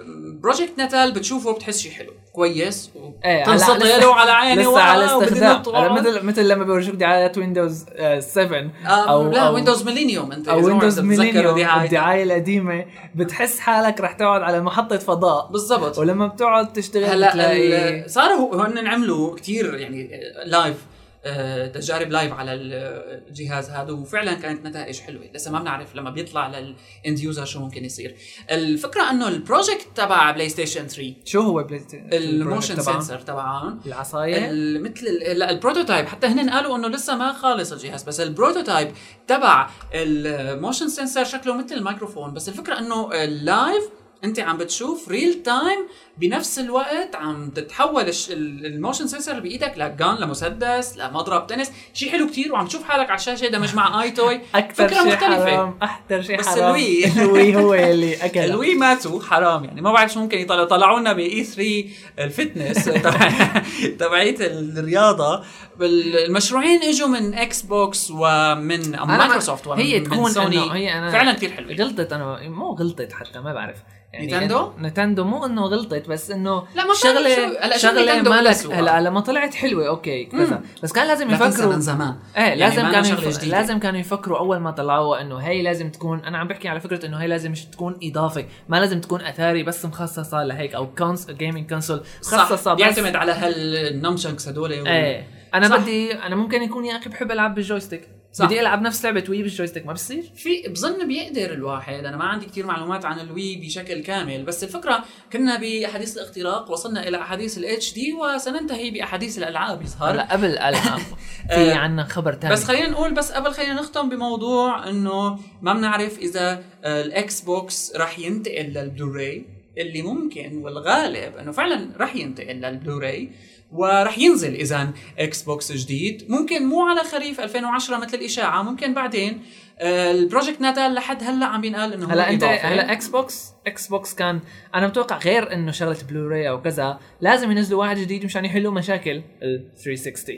بروجكت نتال بتشوفه بتحس شيء حلو كويس
ايه
وبتنصت له على عيني
لسه
وآه،
على
وبدي
استخدام
نط
على
وآه.
مثل مثل لما بيورجوك دعايات ويندوز آه، 7
آه،
او
لا
أو-
ويندوز ميلينيوم انت
او
إذا ما
ويندوز
عم تتذكروا
ميلينيوم
دعاية.
الدعايه القديمه بتحس حالك رح تقعد على محطه فضاء
بالضبط
ولما بتقعد تشتغل
هلا
بتلاقي
ال- صاروا هن عملوا كتير يعني آه، لايف آه، تجارب لايف على ال- الجهاز هذا وفعلا كانت نتائج حلوه لسه ما بنعرف لما بيطلع للاند يوزر شو ممكن يصير الفكره انه البروجكت تبع بلاي ستيشن 3
شو هو بلاي ستيشن
الموشن سنسر تبعهم
العصايه
ال- مثل ال- لا البروتوتايب حتى هن قالوا انه لسه ما خالص الجهاز بس البروتوتايب تبع الموشن سنسر شكله مثل الميكروفون بس الفكره انه اللايف انت عم بتشوف ريل تايم بنفس الوقت عم تتحول الش- ال- الموشن سنسر بايدك لجان لمسدس لمضرب تنس شيء حلو كتير وعم تشوف حالك على الشاشه دمج مع اي توي
اكثر
فكرة
شيء
مختلفة.
حرام احتر شيء
بس
حرام *laughs*
الوي.
الوي هو اللي اكل
الوي ماتوا حرام يعني ما بعرف شو ممكن يطلعوا طلعوا لنا باي 3
*laughs*
الفتنس تبع- تبعيه الرياضه بال- المشروعين اجوا من اكس بوكس ومن
ما-
مايكروسوفت ومن
هي
من
تكون
سوني
إنه هي أنا-
فعلا كثير حلوه
غلطت انا مو غلطت حتى ما بعرف يعني
نينتندو؟
نتندو مو انه غلطت بس انه
لا، ما بعرف شو- هلا
شغله
شو
شغله
نينتندو
ما لك
أسوأ؟
هلا لما طلعت حلوه اوكي كذا بس كان لازم
لا تنسى
يفكروا
من زمان
ايه لازم
ما لنا
كانوا
شغلة
يف...
جديدة.
لازم كانوا يفكروا اول ما طلعوها انه هي لازم تكون انا عم بحكي على فكره انه هي لازم ش- تكون اضافه ما لازم تكون اثاري بس مخصصه لهيك او كونس جيمنج كونسول مخصصه
صح
بس
بيعتمد على هالنمشنكس هدول وال-
ايه انا
صح.
بدي انا ممكن يكون يا اخي بحب العب بالجويستيك
صح.
بدي العب نفس لعبه وي بالجويستيك ما بصير
في بظن بيقدر الواحد انا ما عندي كثير معلومات عن الوي بشكل كامل بس الفكره كنا باحاديث الاختراق وصلنا الى احاديث الاتش دي وسننتهي باحاديث الالعاب يظهر
هلا قبل *laughs* العاب في
آه،
عنا خبر تاني
بس خلينا نقول بس قبل خلينا نختم بموضوع انه ما بنعرف اذا آه، الاكس بوكس رح ينتقل للبلوراي اللي ممكن والغالب انه فعلا رح ينتقل للبلوراي ورح ينزل اذا اكس بوكس جديد ممكن مو على خريف 2010 مثل الاشاعه ممكن بعدين آه، البروجكت ناتال لحد هلا عم بينقال انه هو
هلا انت
إضافة.
هلا اكس بوكس اكس بوكس كان انا متوقع غير انه شغله بلوراي او كذا لازم ينزلوا واحد جديد مشان يحلوا مشاكل ال 360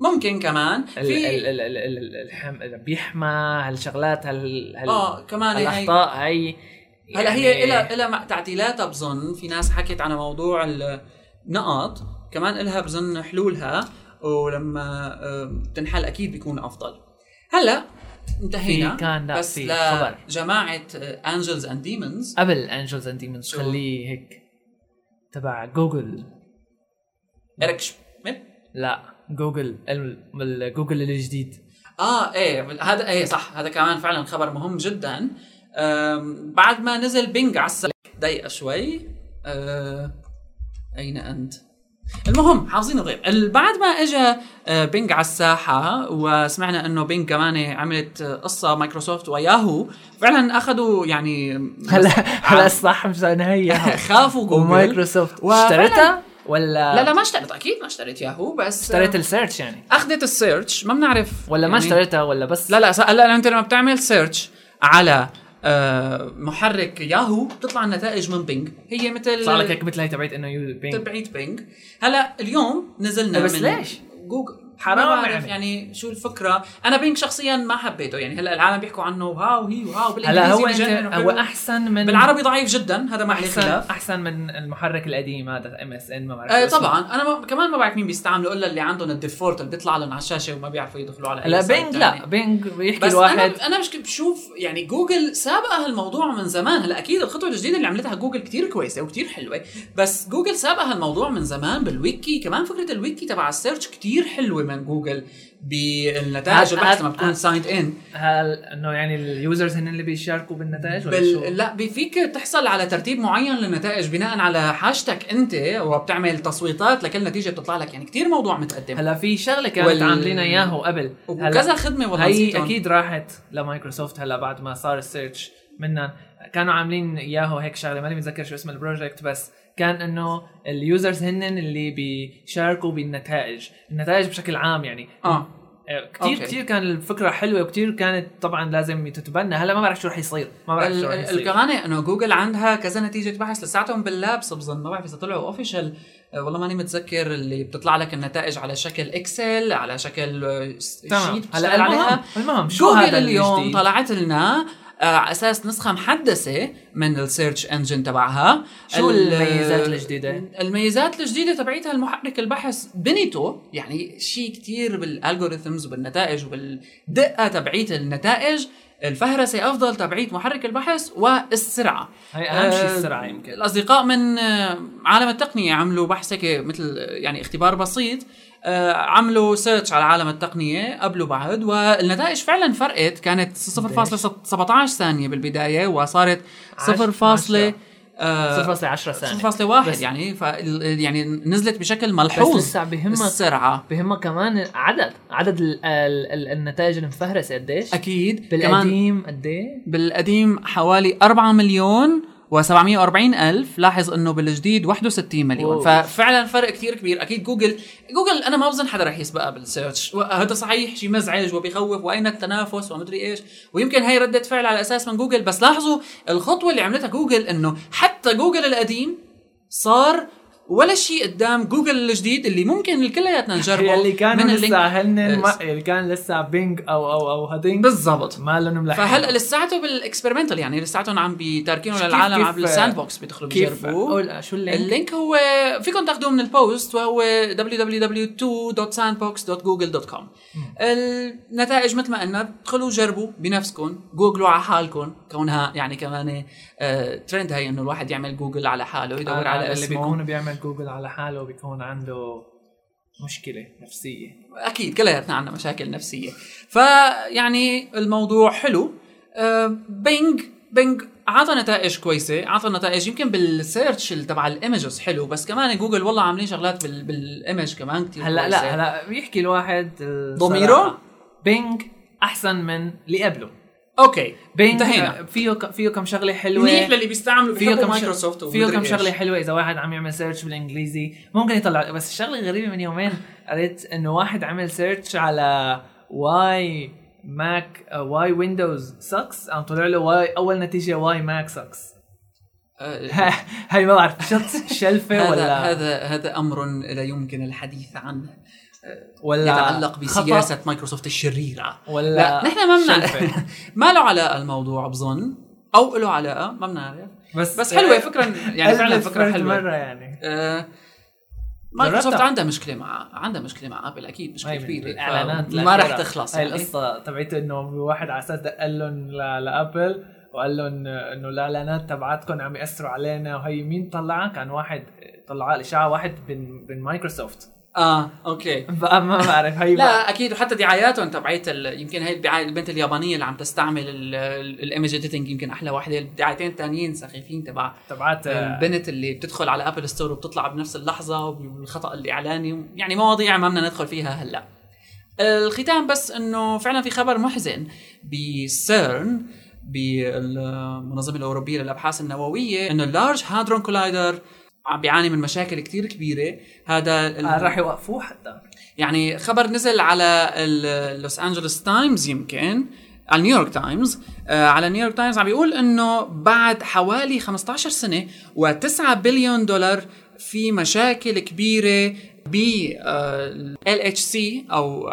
ممكن كمان
ال ال
في
ال ال ال- ال- الحم- اللي بيحمى هالشغلات هال هال
اه كمان هي
الاخطاء آه، هي
هلا
يعني-
هي إلها إلها مع- تعديلاتها بظن في ناس حكت على موضوع النقط كمان إلها بظن حلولها ولما آه، تنحل أكيد بيكون أفضل هلا انتهينا
في كان لا
بس آه،
في خبر.
لجماعه انجلز اند ديمونز
قبل انجلز اند ديمونز
شو؟
خليه هيك تبع جوجل
اريك شميت
لا جوجل ال- الجوجل الجديد
اه ايه بال- هذا ايه صح هذا كمان فعلا خبر مهم جدا أم، بعد ما نزل بينج على السلك ضيقه شوي أه، اين انت؟ المهم حافظين الغيب ال- بعد ما اجى آه، بينج على الساحه وسمعنا انه بينج كمان عملت آه، قصه مايكروسوفت وياهو فعلا اخذوا يعني
هلا هلا صح مش
*laughs*
انا هي *laughs*
خافوا جوجل
ومايكروسوفت
وفعلاً-
اشتريتها ولا
لا لا ما اشتريت اكيد ما اشتريت ياهو بس
اشتريت
آه،
السيرش يعني
اخذت السيرش ما بنعرف
ولا ما
يعني-
اشتريتها ولا بس
لا لا س- هلا انت لما بتعمل سيرش على آه، محرك ياهو بتطلع النتائج من بينج هي مثل
طلع لك هيك مثل هي تبعت انه يو بينج
تبعيت بينج هلا اليوم نزلنا
بس
من
ليش؟
جوجل حرام
ما
اعرف
بعرف.
يعني شو الفكره انا بينج شخصيا ما حبيته يعني هلا العالم بيحكوا عنه واو هي واو
هلا
بالانجليزي
هو انت
بيجنن
هو
وحلو.
احسن من
بالعربي ضعيف جدا هذا ما عليه
احسن
خلاف
احسن من المحرك القديم هذا ام اس ان ما بعرف
آه
اسمه.
طبعا انا ما كمان ما بعرف مين بيستعمله الا اللي عندهم الديفولت اللي بيطلع لهم على الشاشه وما بيعرفوا يدخلوا على أي
هلا
site
بينج لا
تاني.
بينج بيحكي
بس
الواحد
انا انا مش بشوف يعني جوجل سابقه هالموضوع من زمان هلا اكيد الخطوه الجديده اللي عملتها جوجل كتير كويسه وكتير حلوه بس جوجل سابقه هالموضوع من زمان بالويكي كمان فكره الويكي تبع السيرش كتير حلوه من جوجل بالنتائج
هاد-
البحث
هاد-
لما بتكون
هاد-
سايند ان
هل انه يعني اليوزرز هن اللي بيشاركوا بالنتائج ولا شو؟
بال... لا بي- فيك تحصل على ترتيب معين للنتائج بناء على حاجتك انت وبتعمل تصويتات لكل نتيجه بتطلع لك يعني كتير موضوع متقدم
هلا في شغله كانت
وال-
وال... عاملينها اياها قبل هلا
وكذا خدمه والله
هي
نسيتهم.
اكيد راحت لمايكروسوفت هلا بعد ما صار السيرش منها كانوا عاملين ياهو هيك شغله ماني متذكر شو اسم البروجكت بس كان انه اليوزرز هن اللي بيشاركوا بالنتائج النتائج بشكل عام يعني
اه
كثير
أوكي.
كثير كان الفكره حلوه وكثير كانت طبعا لازم تتبنى هلا ما بعرف شو رح يصير ما بعرف شو رح
ال-
يصير
الكمان انه جوجل عندها كذا نتيجه بحث لساتهم باللابس بظن ما بعرف اذا طلعوا اوفيشال والله ماني متذكر اللي بتطلع لك النتائج على شكل اكسل على شكل آه، س-
تمام
شيت
هلا
هلا
المهم
عليها
المهم شو
جوجل
هذا
اليوم
الجديد؟
طلعت لنا آه، على اساس نسخه محدثه من السيرش انجن تبعها
شو
ال-
الميزات الجديدة؟
الميزات الجديده تبعيتها المحرك البحث بنيته يعني شيء كتير بالالغوريثمز وبالنتائج وبالدقه تبعيت النتائج الفهرسه افضل تبعيت محرك البحث والسرعه
هي اهم شيء
آه،
السرعه يمكن
الاصدقاء من آه، عالم التقنيه عملوا بحث هيك مثل آه، يعني اختبار بسيط آه، عملوا سيرش على عالم التقنيه قبل وبعد والنتائج فعلا فرقت كانت 0.17 ثانيه بالبدايه وصارت
عش-
0.
عشرة.
آه،
0.10 ثانيه
0.1
بس-
يعني ف يعني نزلت بشكل ملحوظ
بس لسه بهمك
السرعه
بهمها كمان عدد عدد ال ال ال النتائج المفهرسه قديش
اكيد كمان
بالقديم قد ايه
بالقديم حوالي 4 مليون و740 ألف لاحظ انه بالجديد 61 مليون
أوه.
ففعلا فرق كتير كبير اكيد جوجل جوجل انا ما بظن حدا رح يسبقها بالسيرش هذا صحيح شيء مزعج وبيخوف واين التنافس ومدري ايش ويمكن هي ردة فعل على اساس من جوجل بس لاحظوا الخطوه اللي عملتها جوجل انه حتى جوجل القديم صار ولا شيء قدام جوجل الجديد اللي ممكن كلياتنا نجربه
*laughs* اللي كانوا
من اللينك-
لسه هن
ما-
اللي كان لسه بينج او او او هدينج
بالضبط
ما لهم ملاحقين
فهلا لساته بالاكسبيرمنتال يعني لساتهم عم بتاركينه
أيوة. كيف-
للعالم
كيف-
عم بالساند بوكس بيدخلوا
كيف
بيجربوه
أول- آه، شو اللينك
اللينك هو فيكم تاخذوه من البوست وهو www.sandbox.google.com النتائج مثل ما قلنا ادخلوا جربوا بنفسكم جوجلوا على حالكم كونها يعني كمان آه، ترند هي انه الواحد يعمل جوجل على حاله يدور على
آه، اللي
آه، اسمه
بيكون بيعمل جوجل على حاله بيكون عنده مشكله نفسيه
اكيد كلياتنا عندنا مشاكل نفسيه فيعني الموضوع حلو أه، بينج بينج عطى نتائج كويسه عطى نتائج يمكن بالسيرش ال- تبع الايمجز حلو بس كمان جوجل والله عاملين شغلات بال بالايمج كمان كثير
هلا لا هلا بيحكي الواحد آه،
ضميره
صراحة، بينج احسن من اللي قبله
اوكي
بينج
انتهينا.
آه، فيه فيه كم شغله حلوه
منيح للي بيستعملوا
فيه
فيه
كم
مايكروسوفت
شغله فيه كم شغله حلوه اذا واحد عم يعمل سيرش بالانجليزي ممكن يطلع بس الشغله الغريبه من يومين قريت انه واحد عمل سيرش على واي ماك واي ويندوز سكس عم طلع له واي اول نتيجه واي ماك سكس *laughs* هاي ما بعرف شط شلفه
آه، هذا
ولا
هذا هذا امر لا يمكن الحديث عنه
ولا
يتعلق
خطأ
بسياسه مايكروسوفت الشريره
ولا
لا نحن ما بنعرف
شلفة.
*laughs* ما له علاقه الموضوع بظن او له علاقه ما بنعرف
بس آه، إيه،
بس حلوه فكره يعني فعلا
ألفت
فكره
فرد
حلوه
مره يعني
آه، مايكروسوفت
جربتها.
عندها مشكله مع عندها مشكله مع ابل اكيد مشكله
هاي
كبيره
طيب، الإعلانات
ف- ما
الأخيرة. طيب،
راح تخلص
هاي
يعني.
القصه تبعت انه في واحد على اساس دق لهم ل- لابل وقال لهم انه الاعلانات تبعتكم عم ياثروا علينا وهي مين طلعها؟ كان واحد طلعها الاشاعه واحد بن بن مايكروسوفت
اه اوكي
بقى ما بعرف *laughs* هي بقى
طيب.
لا اكيد وحتى دعاياتهم تبعت ال- يمكن هي الدعايه البنت اليابانيه اللي عم تستعمل الايمج اديتنج يمكن احلى واحده الدعايتين تانيين سخيفين تبع
تبعت
البنت اللي بتدخل على ابل ستور وبتطلع بنفس اللحظه وبالخطا الاعلاني يعني مواضيع ما بدنا ندخل فيها هلا الختام بس انه فعلا في خبر محزن بسيرن بالمنظمه الاوروبيه للابحاث النوويه انه اللارج هادرون كولايدر عم بيعاني من مشاكل كتير كبيره هذا ال-
آه، راح يوقفوه حتى
يعني خبر نزل على ال- لوس انجلوس تايمز يمكن على نيويورك تايمز آه، على نيويورك تايمز عم بيقول انه بعد حوالي 15 سنه و9 بليون دولار في مشاكل كبيره ب آه، ال اتش سي او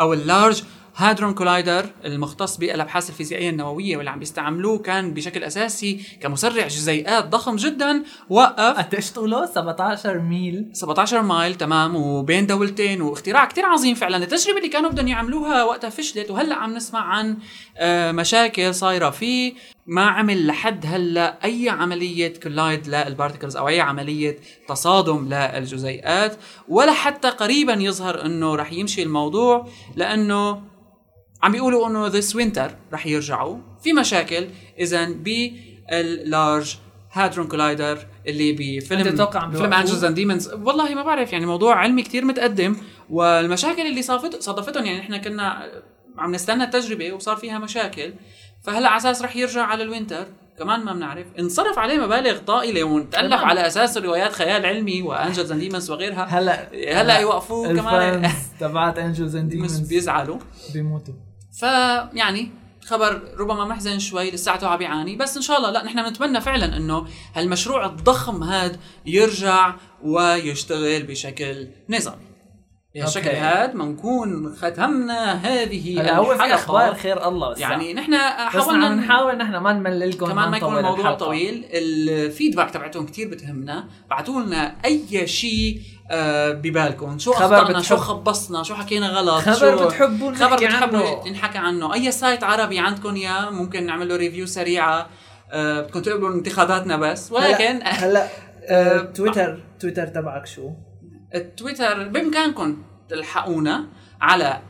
او اللارج هادرون كولايدر المختص بالابحاث الفيزيائيه النوويه واللي عم بيستعملوه كان بشكل اساسي كمسرع جزيئات ضخم جدا وقف
قديش طوله؟ 17 ميل
17 مايل تمام وبين دولتين واختراع كتير عظيم فعلا التجربة اللي كانوا بدهم يعملوها وقتها فشلت وهلأ عم نسمع عن آه، مشاكل صايرة فيه ما عمل لحد هلأ أي عملية كلايد للبارتكلز أو أي عملية تصادم للجزيئات ولا حتى قريبا يظهر أنه رح يمشي الموضوع لأنه عم بيقولوا انه ذس وينتر رح يرجعوا في مشاكل اذا باللارج هادرون كولايدر اللي
أنت
بفيلم
تتوقع عم
فيلم
بيوقفوه؟
انجلز اند ديمونز والله ما بعرف يعني موضوع علمي كتير متقدم والمشاكل اللي صافت صادفتهم يعني احنا كنا عم نستنى التجربه وصار فيها مشاكل فهلا على اساس رح يرجع على الوينتر كمان ما بنعرف انصرف عليه مبالغ طائله ونتالف
تمام.
على اساس روايات خيال علمي وانجلز اند ديمونز وغيرها
هلا
هلا يوقفوه كمان
الفانز تبعت انجلز اند
مس-
ديمونز
بيزعلوا
بيموتوا
فيعني خبر ربما محزن شوي لساته عم بيعاني بس ان شاء الله لا نحن بنتمنى فعلا انه هالمشروع الضخم هاد يرجع ويشتغل بشكل نظامي بهالشكل
أوكي.
هاد منكون ختمنا هذه
هلا هو في
الحلقة.
اخبار خير الله بس
يعني نحن
بس
حاولنا
عم
نحاول
نحاول نحن ما نمللكم
كمان ما يكون
نطول
الموضوع
الحلقة.
طويل الفيدباك تبعتهم كتير بتهمنا بعتوا لنا اي شيء آه، ببالكم شو
خبر
اخطأنا شو
بتحب-
خبصنا شو حكينا غلط شو
خبر بتحبوا
خبر
نحكي
بتحبوا
عنه
نحكى عنه اي سايت عربي عندكم يا ممكن نعمل له ريفيو سريعه آه، بدكم تقبلوا انتقاداتنا بس ولكن
هلا- هلا آه، تويتر تويتر تبعك شو؟
التويتر بامكانكم تلحقونا على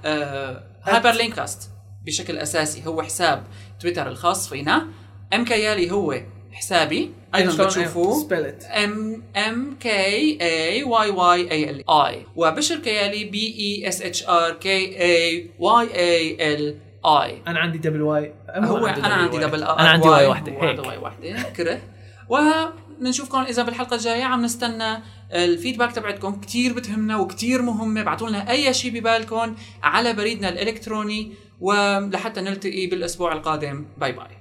هايبر لينكاست بشكل اساسي هو حساب تويتر الخاص فينا ام كيالي هو حسابي ايضا بتشوفوه
إيه؟
سبيلت
ام ام كي اي واي واي اي ال اي وبشر كيالي بي اي اس اتش ار كي اي واي اي ال اي
انا عندي دبل واي
هو انا عندي دبل
أنا عندي واي وحدة،
هيك
هيك.
واي وحده كره وبنشوفكم اذا بالحلقه الجايه عم نستنى الفيدباك تبعتكم كتير بتهمنا وكتير مهمه ابعتوا لنا اي شيء ببالكم على بريدنا الالكتروني ولحتى نلتقي بالاسبوع القادم باي باي